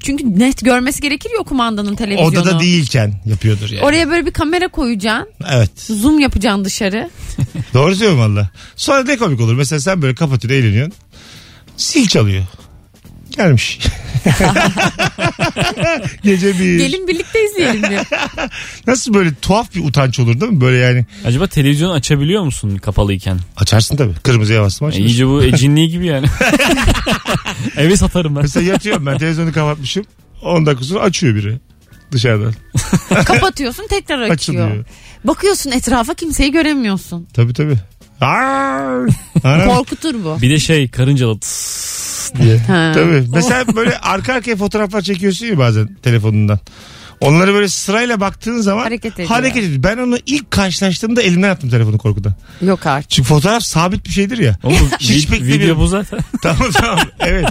Speaker 3: çünkü net görmesi gerekir ya o kumandanın televizyonu.
Speaker 2: Odada değilken yapıyordur yani.
Speaker 3: Oraya böyle bir kamera koyacaksın.
Speaker 2: Evet.
Speaker 3: Zoom yapacaksın dışarı.
Speaker 2: Doğru söylüyorum valla. Sonra ne komik olur. Mesela sen böyle kapatıyorsun eğleniyorsun. Sil çalıyor. [laughs] Gelmiş. Gece bir.
Speaker 3: Gelin birlikte
Speaker 2: [laughs]
Speaker 3: izleyelim diyor.
Speaker 2: Nasıl böyle tuhaf bir utanç olur değil mi? Böyle yani
Speaker 5: Acaba televizyonu açabiliyor musun kapalıyken?
Speaker 2: açarsın tabii. Kırmızıya bastım
Speaker 5: Yani
Speaker 2: açarsın. [laughs]
Speaker 5: iyice bu ecinliği gibi yani. Evi satarım ben.
Speaker 2: Mesela yatıyorum ben televizyonu kapatmışım. 10 dakika sonra açıyor biri dışarıdan.
Speaker 3: Kapatıyorsun tekrar açıyor.
Speaker 2: Açılıyor.
Speaker 3: Bakıyorsun etrafa kimseyi göremiyorsun.
Speaker 2: Tabii tabii. Arr!
Speaker 3: [laughs]
Speaker 2: Anam.
Speaker 3: Korkutur bu.
Speaker 5: Bir de şey
Speaker 2: [laughs]
Speaker 5: karıncalı tıs
Speaker 2: diye.
Speaker 3: Ha.
Speaker 2: Tabii. Mesela böyle arka arkaya fotoğraflar çekiyorsun ya bazen telefonundan. Onları böyle sırayla baktığın zaman
Speaker 3: Hareket ediyor.
Speaker 2: hareket ediyor. Ben onu ilk karşılaştığımda elimden attım telefonu korkudan.
Speaker 3: Yok artık.
Speaker 2: Çünkü fotoğraf sabit bir şeydir
Speaker 3: [laughs]
Speaker 2: ya.
Speaker 5: Oğlum bu
Speaker 2: Hiç
Speaker 5: vid-
Speaker 2: beklemiyorum.
Speaker 5: video bu zaten.
Speaker 2: tamam tamam. Evet.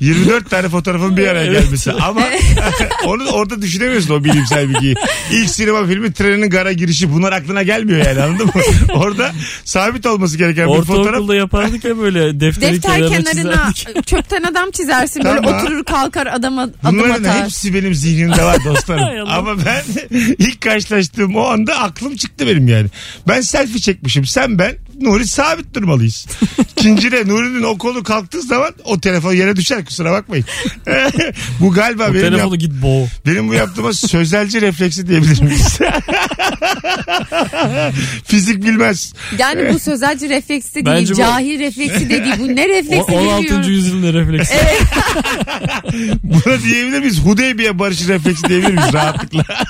Speaker 2: 24 tane fotoğrafın bir araya
Speaker 5: Evet.
Speaker 2: gelmesi. Ama [laughs] onu orada düşünemiyorsun o bilimsel bilgiyi. İlk sinema filmi trenin gara girişi bunlar aklına gelmiyor yani anladın mı? [laughs] Orada sabit olması gereken bir fotoğraf.
Speaker 5: Ortaokulda yapardık ya böyle defteri
Speaker 3: Defter
Speaker 5: kenarına
Speaker 3: kenarına
Speaker 2: [laughs]
Speaker 3: [laughs]
Speaker 5: çizerdik.
Speaker 3: çöpten adam çizersin böyle
Speaker 2: Tamam.
Speaker 3: oturur kalkar adama adım
Speaker 2: Bunların
Speaker 3: atar.
Speaker 2: hepsi benim zihnimde var
Speaker 3: [laughs]
Speaker 5: Hay
Speaker 2: dostlarım.
Speaker 5: Allah.
Speaker 2: Ama ben [laughs] ilk karşılaştığım o anda aklım çıktı benim yani. Ben selfie çekmişim. Sen ben Nuri sabit
Speaker 3: [laughs]
Speaker 2: durmalıyız. İkincide Nuri'nin o kolu kalktığı zaman o telefon yere düşer kusura bakmayın. [laughs] bu galiba
Speaker 5: Bu
Speaker 2: benim, yap-
Speaker 5: telefonu git boğ.
Speaker 2: benim bu yaptığıma sözelci refleksi diyebilir miyiz? [laughs] Fizik bilmez.
Speaker 3: Yani bu sözelci refleksi de değil,
Speaker 5: Bence bu-
Speaker 3: cahil refleksi de değil. Bu ne
Speaker 5: O-
Speaker 3: refleksi
Speaker 5: 16.
Speaker 3: bilmiyorum.
Speaker 5: yüzyılın refleksi.
Speaker 2: Buna diyebilir miyiz? Hudeybiye barışı refleksi diyebilir miyiz rahatlıkla? [laughs]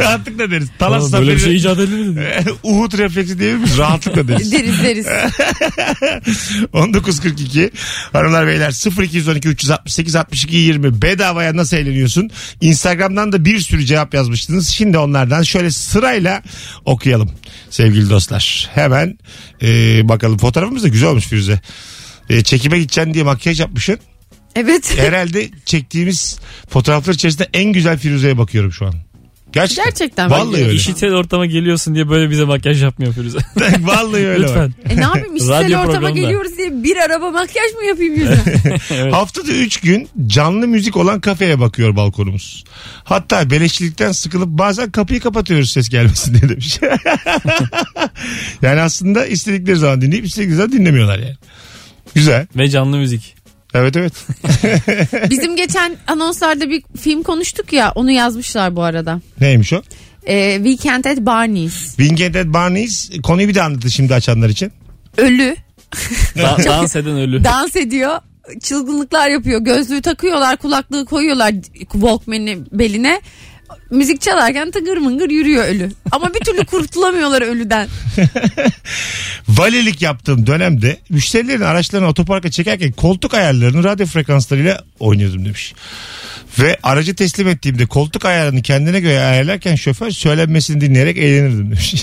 Speaker 2: rahatlıkla deriz. Talas
Speaker 5: Oğlum, böyle bir
Speaker 2: zaferi-
Speaker 5: şey icat edilir mi?
Speaker 2: Uhud refleksi diyebilir miyiz? Rahatlıkla
Speaker 3: [laughs]
Speaker 2: deriz.
Speaker 3: Deriz deriz.
Speaker 2: 19.42 Hanımlar beyler 0212 368 62 20 bedavaya nasıl eğleniyorsun? Instagram'dan da bir sürü cevap yazmıştınız. Şimdi onlardan şöyle sırayla okuyalım sevgili dostlar. Hemen e, bakalım fotoğrafımız da güzel olmuş Firuze. E, çekime gideceksin diye makyaj yapmışsın.
Speaker 3: Evet.
Speaker 2: Herhalde çektiğimiz fotoğraflar içerisinde en güzel Firuze'ye bakıyorum şu an. Gerçekten.
Speaker 3: Gerçekten.
Speaker 2: Vallahi öyle.
Speaker 5: İşitel ortama geliyorsun diye böyle bize makyaj yapmıyor Firuze.
Speaker 2: [laughs] Vallahi öyle. bak.
Speaker 5: Lütfen.
Speaker 3: E ne yapayım
Speaker 5: Radyo
Speaker 3: işsel ortama
Speaker 5: programında.
Speaker 3: geliyoruz diye bir araba makyaj mı yapayım yüzüme?
Speaker 5: Evet.
Speaker 2: Haftada 3 gün canlı müzik olan kafeye bakıyor balkonumuz. Hatta beleşçilikten sıkılıp bazen kapıyı kapatıyoruz ses gelmesin diye demiş. [laughs] yani aslında istedikleri zaman dinleyip istedikleri zaman dinlemiyorlar yani. Güzel.
Speaker 5: Ve canlı müzik.
Speaker 2: Evet evet.
Speaker 3: Bizim geçen anonslarda bir film konuştuk ya onu yazmışlar bu arada.
Speaker 2: Neymiş o?
Speaker 3: E, Weekend at Barney's.
Speaker 2: Winged at Barney's konuyu bir de anlattı şimdi açanlar için.
Speaker 3: Ölü
Speaker 5: Da- dans eden ölü.
Speaker 3: dans ediyor çılgınlıklar yapıyor gözlüğü takıyorlar kulaklığı koyuyorlar Walkman'i beline müzik çalarken tıngır mıngır yürüyor ölü ama bir türlü kurtulamıyorlar ölüden
Speaker 2: Valilik yaptığım dönemde müşterilerin araçlarını otoparka çekerken koltuk ayarlarını radyo frekanslarıyla oynuyordum demiş. Ve aracı teslim ettiğimde koltuk ayarını kendine göre ayarlarken şoför söylenmesini dinleyerek eğlenirdim demiş.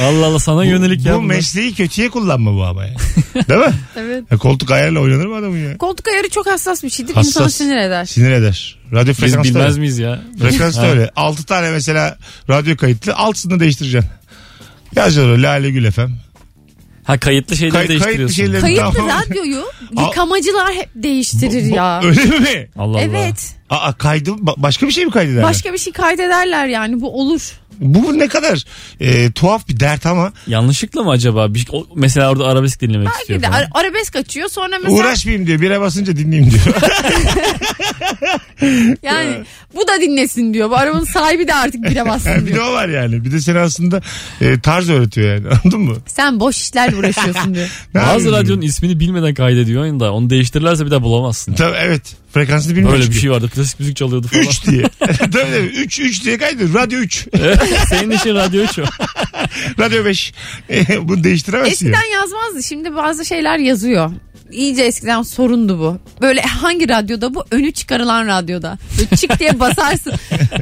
Speaker 5: Allah Allah sana [laughs] yönelik ya.
Speaker 2: bu
Speaker 5: bunlar.
Speaker 2: mesleği kötüye kullanma bu ama yani. Değil mi?
Speaker 3: evet.
Speaker 2: Ya koltuk ayarla oynanır mı adamın ya?
Speaker 3: koltuk ayarı çok hassas bir şeydir
Speaker 2: Hassas.
Speaker 3: insanı sinir eder
Speaker 2: Sinir eder. Radyo
Speaker 5: Biz
Speaker 2: frekansı da
Speaker 5: bilmez
Speaker 2: öyle.
Speaker 5: miyiz ya?
Speaker 2: Frekans da
Speaker 5: Ha.
Speaker 2: öyle. 6 tane mesela radyo kayıtlı. Altısını değiştireceksin. Yazıyor Lale Gül efem.
Speaker 5: Ha kayıtlı şeyleri
Speaker 2: Kay- kayıtlı
Speaker 5: değiştiriyorsun.
Speaker 2: şeyleri
Speaker 3: kayıtlı
Speaker 2: Tamam.
Speaker 3: radyoyu
Speaker 2: [laughs]
Speaker 3: yıkamacılar hep değiştirir ya
Speaker 2: Öyle mi?
Speaker 5: Allah Allah.
Speaker 3: evet
Speaker 2: Aa kaydı ba- başka bir şey mi kaydederler?
Speaker 3: başka bir şey kaydederler yani bu olur
Speaker 2: Bu ne kadar e, tuhaf bir dert ama
Speaker 5: Yanlışlıkla mı acaba? Bir, şey- o- mesela orada arabesk dinlemek
Speaker 3: belki
Speaker 5: istiyor.
Speaker 3: de
Speaker 5: falan.
Speaker 3: ar- arabesk açıyor sonra mesela
Speaker 2: uğraşmayayım diyor. Bire basınca dinleyeyim diyor.
Speaker 3: [laughs] yani bu da dinlesin diyor bu arabanın sahibi
Speaker 2: [laughs]
Speaker 3: de artık bire bassın
Speaker 2: bir de
Speaker 3: diyor
Speaker 2: o var yani. Bir de seni aslında e, tarz öğretiyor yani. [laughs] Anladın mı?
Speaker 3: sen boş işlerle uğraşıyorsun diyor
Speaker 2: Ne
Speaker 5: Bazı
Speaker 2: yapıyorsun?
Speaker 5: radyonun ismini bilmeden kaydediyor da onu değiştirirlerse bir daha bulamazsın.
Speaker 2: Tabii evet. Frekansını bilmiyorum.
Speaker 5: Böyle bir şey vardı. Klasik müzik çalıyordu falan.
Speaker 2: 3 diye. [laughs] tabii tabii 3 3 diye kaydediyor. Radyo [laughs] 3.
Speaker 5: [laughs] Senin işin radyo şu.
Speaker 2: Radyo 5. [laughs] Bunu değiştiremezsin. ya.
Speaker 3: Eskiden yazmazdı. Şimdi bazı şeyler yazıyor. iyice eskiden sorundu bu. Böyle hangi radyoda bu? Önü çıkarılan radyoda. Böyle çık diye basarsın.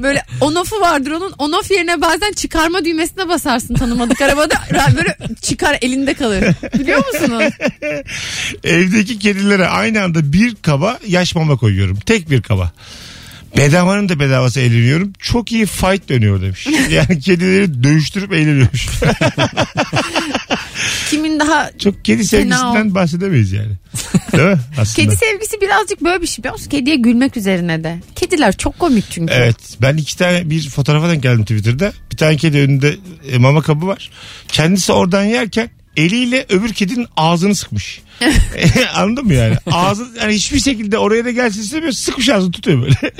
Speaker 3: Böyle on off'u vardır onun. On off yerine bazen çıkarma düğmesine basarsın tanımadık arabada. ra- Böyle çıkar elinde kalır. Biliyor musunuz?
Speaker 2: Evdeki kedilere aynı anda bir kaba yaş mama koyuyorum. Tek bir kaba. Bedavanın da bedavası eğleniyorum. Çok iyi fight dönüyor
Speaker 3: [laughs]
Speaker 2: demiş. Yani kedileri dövüştürüp eğleniyormuş.
Speaker 3: Kimin daha
Speaker 2: Çok kedi sevgisinden bahsedemeyiz yani. Değil mi? Aslında.
Speaker 3: Kedi sevgisi birazcık böyle bir şey biliyor musun? Kediye gülmek üzerine de. Kediler çok komik çünkü.
Speaker 2: Evet. Ben iki tane bir fotoğrafa denk geldim Twitter'da. Bir tane kedi önünde e, mama kabı var. Kendisi oradan yerken eliyle öbür kedinin ağzını sıkmış. Anladın mı yani? Ağzı yani hiçbir şekilde oraya da gelsin istemiyor. Sıkmış ağzını tutuyor böyle. [laughs]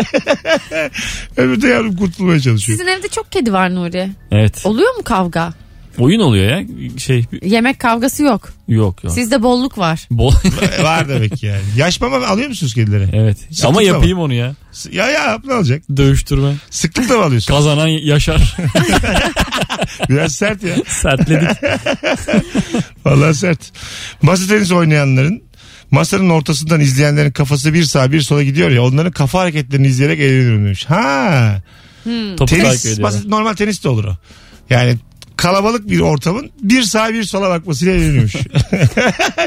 Speaker 2: öbür de yavrum kurtulmaya çalışıyor.
Speaker 3: Sizin evde çok kedi var Nuri.
Speaker 5: Evet.
Speaker 3: Oluyor mu kavga?
Speaker 5: Oyun oluyor ya. Şey
Speaker 3: Yemek kavgası yok.
Speaker 5: yok yok.
Speaker 3: Sizde bolluk
Speaker 5: [laughs]
Speaker 3: var.
Speaker 5: Bol.
Speaker 2: E, var demek ki yani. Yaş mama alıyor musunuz kedilere?
Speaker 5: evet.
Speaker 2: Sıkıntı
Speaker 5: Ama
Speaker 2: var.
Speaker 5: yapayım onu ya.
Speaker 2: Ya ya ne olacak?
Speaker 5: Dövüştürme.
Speaker 2: Sıklıkla mı alıyorsun?
Speaker 5: Kazanan yaşar. [laughs]
Speaker 2: Biraz sert ya.
Speaker 5: Sertledik.
Speaker 2: Vallahi sert. Masa tenisi oynayanların masanın ortasından izleyenlerin kafası bir sağa bir sola gidiyor ya onların kafa hareketlerini izleyerek eğleniyorum demiş. Ha
Speaker 5: Topu takip
Speaker 2: tenis
Speaker 5: ediyorum.
Speaker 2: masa, normal tenis de olur o. Yani kalabalık bir ortamın bir sağa bir sola bakmasıyla eğleniyormuş. [laughs]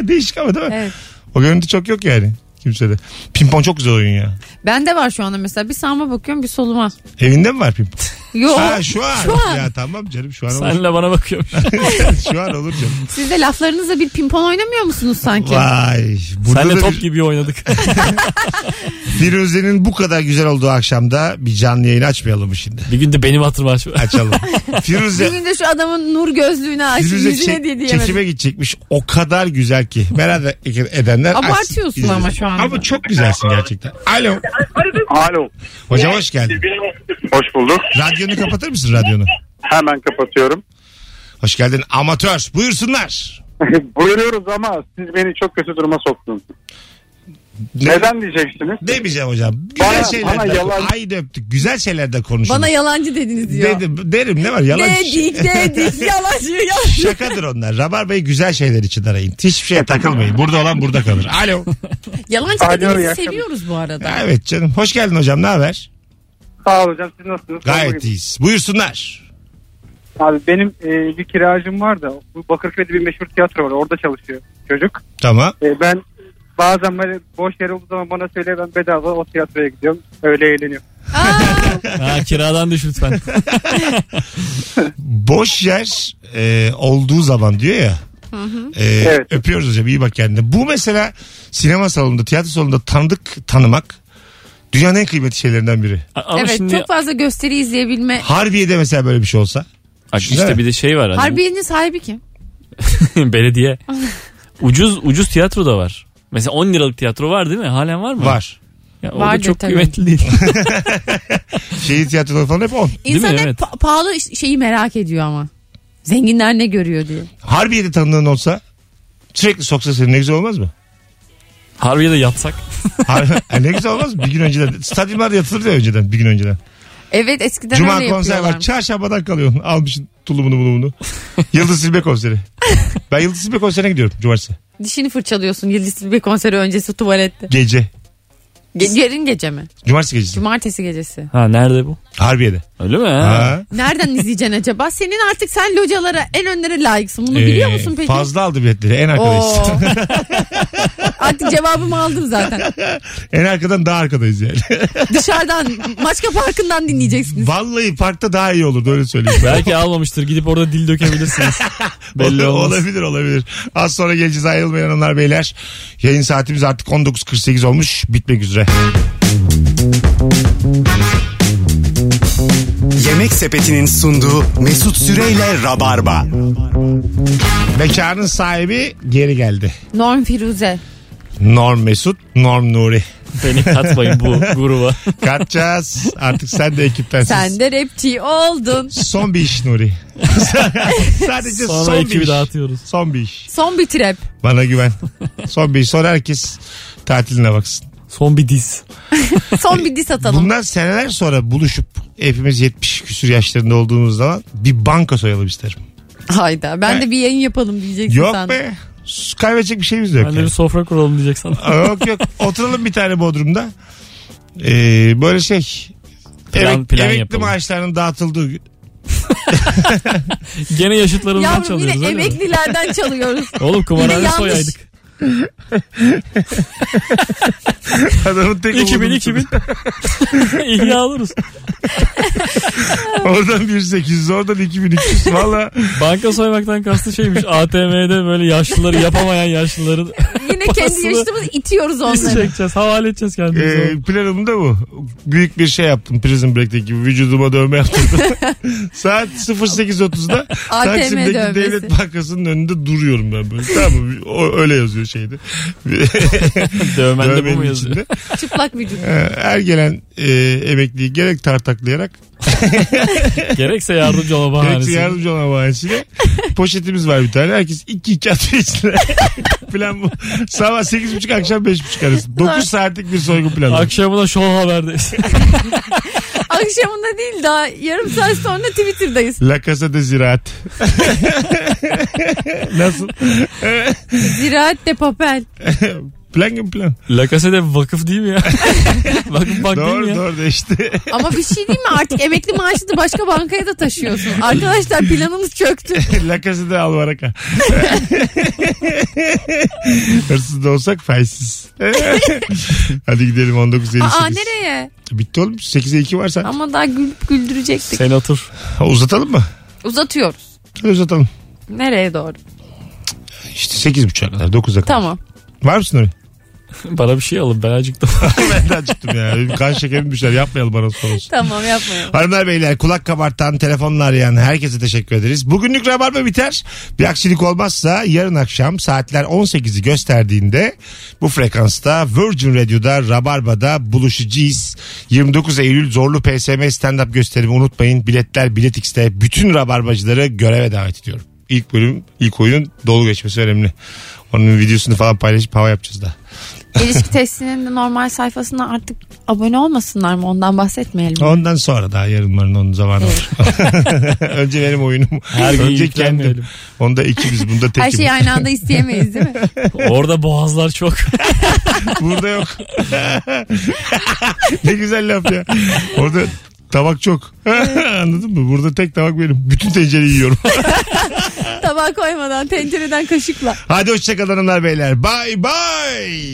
Speaker 2: Değişik ama değil mi?
Speaker 3: Evet.
Speaker 2: O görüntü çok yok yani kimsede. Pimpon çok güzel oyun ya.
Speaker 3: Bende var şu anda mesela. Bir sağıma bakıyorum bir soluma.
Speaker 2: Evinde mi var pimpon?
Speaker 3: Yo.
Speaker 2: Ha şu an.
Speaker 3: Şu an.
Speaker 2: Ya tamam canım şu an olur. [laughs]
Speaker 5: Senle bana bakıyormuş.
Speaker 2: şu an olur canım.
Speaker 3: Siz de laflarınızla bir pimpon oynamıyor musunuz sanki?
Speaker 2: Vay. Burada
Speaker 5: Senle
Speaker 2: da
Speaker 5: top
Speaker 2: bir-
Speaker 5: gibi oynadık.
Speaker 2: Firuze'nin bu kadar güzel olduğu akşamda bir canlı yayın açmayalım mı şimdi?
Speaker 5: [laughs] bir gün de benim hatırıma
Speaker 3: [laughs]
Speaker 5: aç.
Speaker 2: Açalım. Firuze,
Speaker 3: Bugün de şu adamın nur gözlüğünü aç.
Speaker 2: Firuze
Speaker 3: Yüzüne
Speaker 2: çek-
Speaker 3: diye diyemedim.
Speaker 2: çekime gidecekmiş. O kadar güzel ki. Merak edenler açsın,
Speaker 3: Abartıyorsun
Speaker 2: izlesin.
Speaker 3: ama şu anda.
Speaker 2: Ama çok güzelsin gerçekten. Alo.
Speaker 7: Alo.
Speaker 2: Hocam hoş geldin.
Speaker 7: Hoş bulduk.
Speaker 2: Radyonu kapatır mısın radyonu?
Speaker 7: Hemen kapatıyorum.
Speaker 2: Hoş geldin amatör. Buyursunlar.
Speaker 7: [laughs] Buyuruyoruz ama siz beni çok kötü duruma soktunuz.
Speaker 2: Ne-
Speaker 7: Neden diyeceksiniz?
Speaker 2: Demeyeceğim hocam. Güzel
Speaker 7: Bana-
Speaker 2: şeylerden.
Speaker 7: bana yalan-
Speaker 2: Ay öptük. Güzel şeylerden konuşalım.
Speaker 3: Bana yalancı dediniz diyor.
Speaker 2: Dedim, derim ne var yalan. [laughs]
Speaker 3: Dedik dedik yalancı yalancı.
Speaker 2: Şakadır onlar. Rabarbayı güzel şeyler için arayın. Hiçbir şeye takılmayın. Burada olan burada kalır. Alo.
Speaker 3: Yalancı
Speaker 7: Alo, iyi
Speaker 3: dediğinizi
Speaker 7: akşamlar.
Speaker 3: seviyoruz bu arada.
Speaker 2: Evet canım. Hoş geldin hocam. Ne haber?
Speaker 4: Sağ ol hocam siz nasılsınız?
Speaker 2: Gayet iyiyiz. Buyursunlar.
Speaker 4: Abi benim e, bir kiracım var da bu Bakırköy'de bir meşhur tiyatro var orada çalışıyor çocuk.
Speaker 2: Tamam.
Speaker 4: E, ben bazen böyle boş yer olduğu zaman bana söyle ben bedava o tiyatroya gidiyorum öyle eğleniyorum.
Speaker 3: Aa,
Speaker 5: Ha, kiradan düş [laughs] lütfen.
Speaker 2: Boş yer e, olduğu zaman diyor ya. E,
Speaker 4: Evet.
Speaker 2: Öpüyoruz hocam. iyi bak kendine. Bu mesela sinema salonunda, tiyatro salonunda tanıdık, tanımak dünyanın en kıymetli şeylerinden biri.
Speaker 5: Ama
Speaker 3: evet
Speaker 5: şimdi
Speaker 3: çok fazla gösteri izleyebilme.
Speaker 2: Harbiye'de mesela böyle bir şey olsa.
Speaker 5: Bak işte bir de şey var. Hani,
Speaker 3: Harbiyenin sahibi kim? [laughs]
Speaker 5: [laughs] belediye. Ucuz ucuz tiyatro da var. Mesela 10 liralık tiyatro var değil mi? Halen var mı?
Speaker 2: Var.
Speaker 5: Ya
Speaker 3: Vardır
Speaker 5: orada çok
Speaker 3: tabii.
Speaker 5: kıymetli [laughs] değil.
Speaker 2: Şehir tiyatroları falan hep on.
Speaker 5: Değil mi?
Speaker 3: İnsan hep
Speaker 5: Evet.
Speaker 3: pa- pahalı iş- şeyi merak ediyor ama. Zenginler ne görüyor diye.
Speaker 2: Harbiye'de tanıdığın olsa sürekli soksa seni ne güzel olmaz mı?
Speaker 5: Harbiye de yatsak.
Speaker 2: [laughs] Har- Ha, ne güzel olmaz mı? Bir gün önceden. Stadyumlarda yatılırdı ya önceden. Bir gün önceden.
Speaker 3: Evet eskiden
Speaker 2: Cuma
Speaker 3: öyle
Speaker 2: konser var.
Speaker 3: yapıyorlar.
Speaker 2: Çarşambadan kalıyorsun. Almışsın tulumunu bunu
Speaker 3: [laughs]
Speaker 2: bunu. Yıldız Silbe konseri. Ben Yıldız Silbe konserine gidiyorum cumartesi.
Speaker 3: Dişini fırçalıyorsun Yıldız Tilbe konseri öncesi tuvalette.
Speaker 2: Gece.
Speaker 3: Ge- yarın gece mi?
Speaker 2: Cumartesi gecesi.
Speaker 3: Cumartesi gecesi.
Speaker 5: Ha nerede bu?
Speaker 2: Harbiye'de.
Speaker 5: Öyle mi?
Speaker 2: Ha.
Speaker 3: Nereden izleyeceksin acaba? Senin artık sen localara en önlere layıksın. Bunu biliyor
Speaker 2: Ee,
Speaker 3: musun peki?
Speaker 2: Fazla aldı biletleri. En
Speaker 3: Oo.
Speaker 2: arkadayız.
Speaker 3: artık cevabımı aldım zaten.
Speaker 2: [laughs] en arkadan daha arkadayız
Speaker 3: [laughs]
Speaker 2: yani.
Speaker 3: Dışarıdan Maçka Parkı'ndan dinleyeceksiniz.
Speaker 2: Vallahi parkta daha iyi olurdu öyle söyleyeyim.
Speaker 5: Belki almamıştır. Gidip orada dil [laughs] dökebilirsiniz. Belli olmaz.
Speaker 2: Olabilir olabilir. Az sonra geleceğiz ayrılmayın hanımlar beyler. Yayın saatimiz artık 19.48 olmuş. Bitmek üzere.
Speaker 1: Yemek sepetinin sunduğu Mesut Süreyle Rabarba.
Speaker 2: Mekanın sahibi geri geldi.
Speaker 3: Norm Firuze.
Speaker 2: Norm Mesut, Norm Nuri.
Speaker 5: Beni katmayın [laughs] bu gruba. [laughs]
Speaker 2: Kaçacağız. Artık sen de ekiptensin.
Speaker 3: Sen de rapçi oldun.
Speaker 2: Son bir iş
Speaker 5: [laughs]
Speaker 2: Nuri. Sadece
Speaker 5: Sonra
Speaker 2: son bir
Speaker 5: ekibi
Speaker 2: iş.
Speaker 5: dağıtıyoruz.
Speaker 2: Son bir iş.
Speaker 3: Son bir trap.
Speaker 2: Bana güven. Son bir iş. Sonra herkes tatiline baksın.
Speaker 5: Son bir diz.
Speaker 3: Son bir diss atalım.
Speaker 2: Bundan seneler sonra buluşup hepimiz 70 küsür yaşlarında olduğumuz zaman bir banka soyalım isterim.
Speaker 3: Hayda. Ben
Speaker 2: Evet.
Speaker 3: de bir yayın yapalım diyeceksin
Speaker 2: Yok
Speaker 3: sen.
Speaker 2: be. Kaybedecek bir şeyimiz de yok.
Speaker 5: Ben de
Speaker 2: yani.
Speaker 5: bir sofra kuralım diyecek sana.
Speaker 2: Aa, yok yok. Oturalım bir tane bodrumda. Ee, böyle şey.
Speaker 5: Plan-
Speaker 2: Emek-
Speaker 5: plan
Speaker 2: emekli
Speaker 5: yapalım.
Speaker 2: maaşlarının dağıtıldığı gün.
Speaker 5: Gene yaşıtlarımızdan
Speaker 3: Yavrum
Speaker 5: çalıyoruz.
Speaker 3: yine
Speaker 5: öyle mi?
Speaker 3: emeklilerden çalıyoruz.
Speaker 5: Oğlum
Speaker 3: Yine
Speaker 5: kumarhane
Speaker 3: yanlış.
Speaker 5: soyaydık.
Speaker 2: Adamın tek
Speaker 5: 2000
Speaker 2: umudu-
Speaker 5: 2000. [laughs] İhya alırız.
Speaker 2: [laughs] Oradan 1800 oradan 2200.
Speaker 5: [laughs]
Speaker 2: Valla
Speaker 5: Banka soymaktan kastı şeymiş. ATM'de böyle yaşlıları yapamayan yaşlıları
Speaker 3: Yine
Speaker 2: [laughs]
Speaker 3: kendi
Speaker 5: Parasını-
Speaker 3: yaşıtımızı itiyoruz
Speaker 5: biz
Speaker 3: onları.
Speaker 5: çekeceğiz. Havale edeceğiz kendimizi.
Speaker 2: e, planım da bu. Büyük bir şey yaptım Prison Break'teki gibi. Vücuduma dövme
Speaker 5: [laughs]
Speaker 2: yaptırdım. Saat 08.30'da
Speaker 3: ATM
Speaker 2: Taksim'deki [laughs]
Speaker 3: dövmesi.
Speaker 2: Devlet Bankası'nın önünde duruyorum ben böyle. Tamam mı? O, öyle yazıyor şeyde.
Speaker 5: Dövmen de bu
Speaker 2: Dövmenin
Speaker 5: mu yazıyor?
Speaker 2: içinde.
Speaker 3: Çıplak vücut.
Speaker 2: Ee, Er gelen e, emekliyi gerek tartaklayarak
Speaker 5: Gerekse yardımcı olma
Speaker 2: Gerekse
Speaker 5: bahanesi.
Speaker 2: yardımcı olan
Speaker 3: [laughs]
Speaker 2: bahanesiyle. Poşetimiz var bir tane. Herkes iki iki atıyor içine. Plan bu. Sabah sekiz buçuk akşam beş buçuk arası. Dokuz saatlik bir soygun planı.
Speaker 5: Akşamına şov haberdeyiz. [laughs]
Speaker 3: Akşamında değil daha yarım saat sonra Twitter'dayız.
Speaker 2: La Casa de Ziraat. Nasıl?
Speaker 3: Ziraat de papel.
Speaker 2: plan gibi plan.
Speaker 5: La Casa de vakıf değil mi ya? [laughs] vakıf bank değil mi
Speaker 2: doğru
Speaker 5: ya?
Speaker 2: doğru
Speaker 3: [laughs]
Speaker 2: değişti.
Speaker 3: Ama bir şey değil mi artık emekli maaşını başka bankaya da taşıyorsun. Arkadaşlar planımız çöktü.
Speaker 2: La Casa de Alvaraka. [laughs] Hırsız da olsak
Speaker 3: [laughs]
Speaker 2: faizsiz. Hadi gidelim 19.58.
Speaker 3: Aa nereye?
Speaker 2: Bitti oğlum 8'e 2 var sen.
Speaker 3: Ama daha gülüp güldürecektik.
Speaker 5: Sen otur.
Speaker 2: Uzatalım mı?
Speaker 3: Uzatıyoruz.
Speaker 2: Hadi uzatalım.
Speaker 3: Nereye doğru?
Speaker 2: İşte 8.30'a kadar 9'a kadar.
Speaker 3: Tamam.
Speaker 2: Var mısın öyle?
Speaker 5: Bana bir şey alın ben acıktım. [laughs]
Speaker 2: ben de acıktım ya. Benim kan şekerim düşer. Yapmayalım bana sorusu. [laughs]
Speaker 3: Tamam yapmayalım.
Speaker 2: Hanımlar beyler kulak kabartan telefonla arayan herkese teşekkür ederiz. Bugünlük rabarba biter. Bir aksilik olmazsa yarın akşam saatler 18'i gösterdiğinde bu frekansta Virgin Radio'da Rabarba'da buluşacağız. 29 Eylül zorlu PSM stand-up gösterimi unutmayın. Biletler Bilet X'te bütün rabarbacıları göreve davet ediyorum. İlk bölüm, ilk oyunun dolu geçmesi önemli. Onun videosunu falan paylaşıp hava yapacağız da.
Speaker 3: İlişki testinin de normal sayfasına artık abone olmasınlar mı? Ondan bahsetmeyelim.
Speaker 2: Ondan sonra daha yarınların onun zamanı var. [laughs] Önce benim oyunum.
Speaker 5: Her gün
Speaker 2: Önce
Speaker 5: yüklenmeyelim.
Speaker 2: kendim. Onda ikimiz bunda tekim.
Speaker 3: Her şeyi aynı anda isteyemeyiz değil mi?
Speaker 5: Orada boğazlar çok.
Speaker 2: Burada yok. [laughs] ne güzel laf ya. Orada tabak çok. [laughs] Anladın mı? Burada tek tabak benim. Bütün tencereyi yiyorum. [laughs]
Speaker 3: Tabağa koymadan tencereden kaşıkla.
Speaker 2: Hadi hoşçakalın hanımlar beyler. Bye bye.